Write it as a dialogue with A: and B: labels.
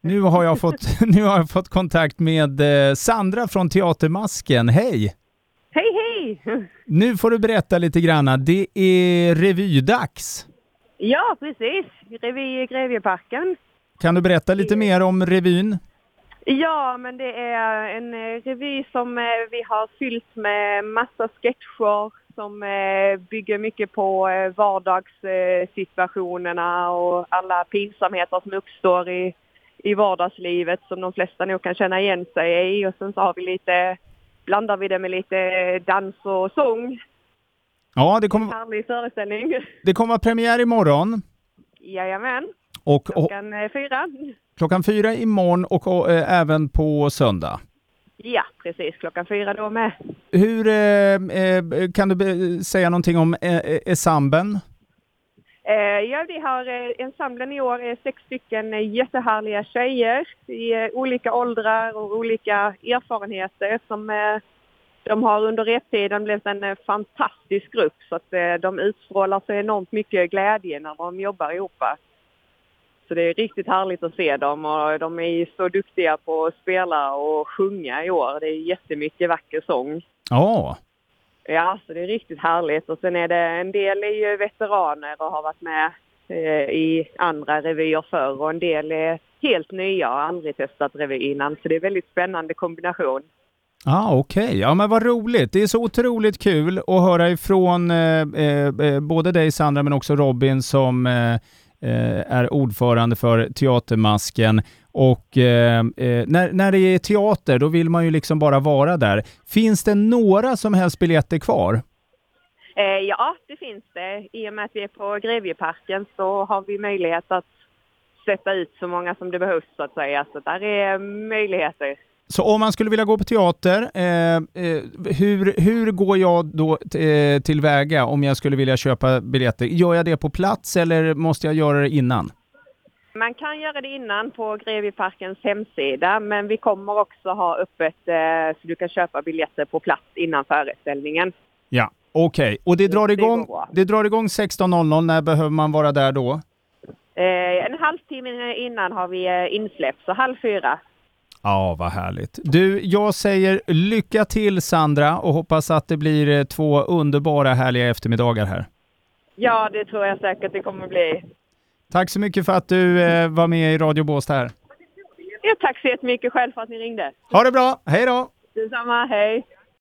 A: Nu har jag fått, nu har jag fått kontakt med eh, Sandra från Teatermasken. Hej!
B: Hej, hej!
A: Nu får du berätta lite granna. Det är revydags.
B: Ja, precis. Revy i Grevieparken.
A: Kan du berätta lite mer om revyn?
B: Ja, men det är en eh, revy som eh, vi har fyllt med massa sketcher som eh, bygger mycket på eh, vardagssituationerna och alla pinsamheter som uppstår i, i vardagslivet som de flesta nog kan känna igen sig i. Och sen så har vi lite, blandar vi det med lite dans och sång.
A: Ja, det kommer
B: Härlig föreställning.
A: det kommer vara premiär imorgon.
B: Jajamän,
A: Och, och,
B: klockan eh, fyra.
A: klockan fyra imorgon och, och eh, även på söndag.
B: Ja, precis. Klockan fyra då med.
A: Hur, eh, eh, kan du be- säga någonting om eh, eh, ensemblen?
B: Eh, ja, vi har eh, ensemblen i år är sex stycken eh, jättehärliga tjejer i eh, olika åldrar och olika erfarenheter som eh, de har under reptiden blivit en eh, fantastisk grupp så att eh, de utstrålar så enormt mycket glädje när de jobbar ihop. Så det är riktigt härligt att se dem och de är ju så duktiga på att spela och sjunga i år. Det är jättemycket vacker sång.
A: Ja,
B: Ja, så det är riktigt härligt. Och sen är det en del är ju veteraner och har varit med eh, i andra revyer förr och en del är helt nya och har aldrig testat revy innan. Så det är en väldigt spännande kombination.
A: ah, okej. Ja, men vad roligt. Det är så otroligt kul att höra ifrån eh, eh, eh, både dig Sandra men också Robin som eh, eh, är ordförande för Teatermasken. Och eh, eh, när, när det är teater, då vill man ju liksom bara vara där. Finns det några som helst biljetter kvar?
B: Eh, ja, det finns det. I och med att vi är på Grevieparken så har vi möjlighet att sätta ut så många som det behövs så att säga. Så där är möjligheter.
A: Så om man skulle vilja gå på teater, eh, eh, hur, hur går jag då t- eh, tillväga om jag skulle vilja köpa biljetter? Gör jag det på plats eller måste jag göra det innan?
B: Man kan göra det innan på Grevieparkens hemsida men vi kommer också ha öppet eh, så du kan köpa biljetter på plats innan föreställningen.
A: Ja. Okej, och det drar,
B: Det går
A: igång,
B: bra.
A: det drar igång 16.00. När behöver man vara där då?
B: Eh, en halvtimme innan har vi eh, insläpp, så halv fyra.
A: Ja, vad härligt. Du, jag säger lycka till Sandra och hoppas att det blir eh, två underbara härliga eftermiddagar här.
B: Ja, det tror jag säkert det kommer bli.
A: Tack så mycket för att du eh, var med i Radio Båstad här.
B: Ja, tack så jättemycket själv för att ni ringde.
A: Ha det bra, hej då!
B: Detsamma, hej!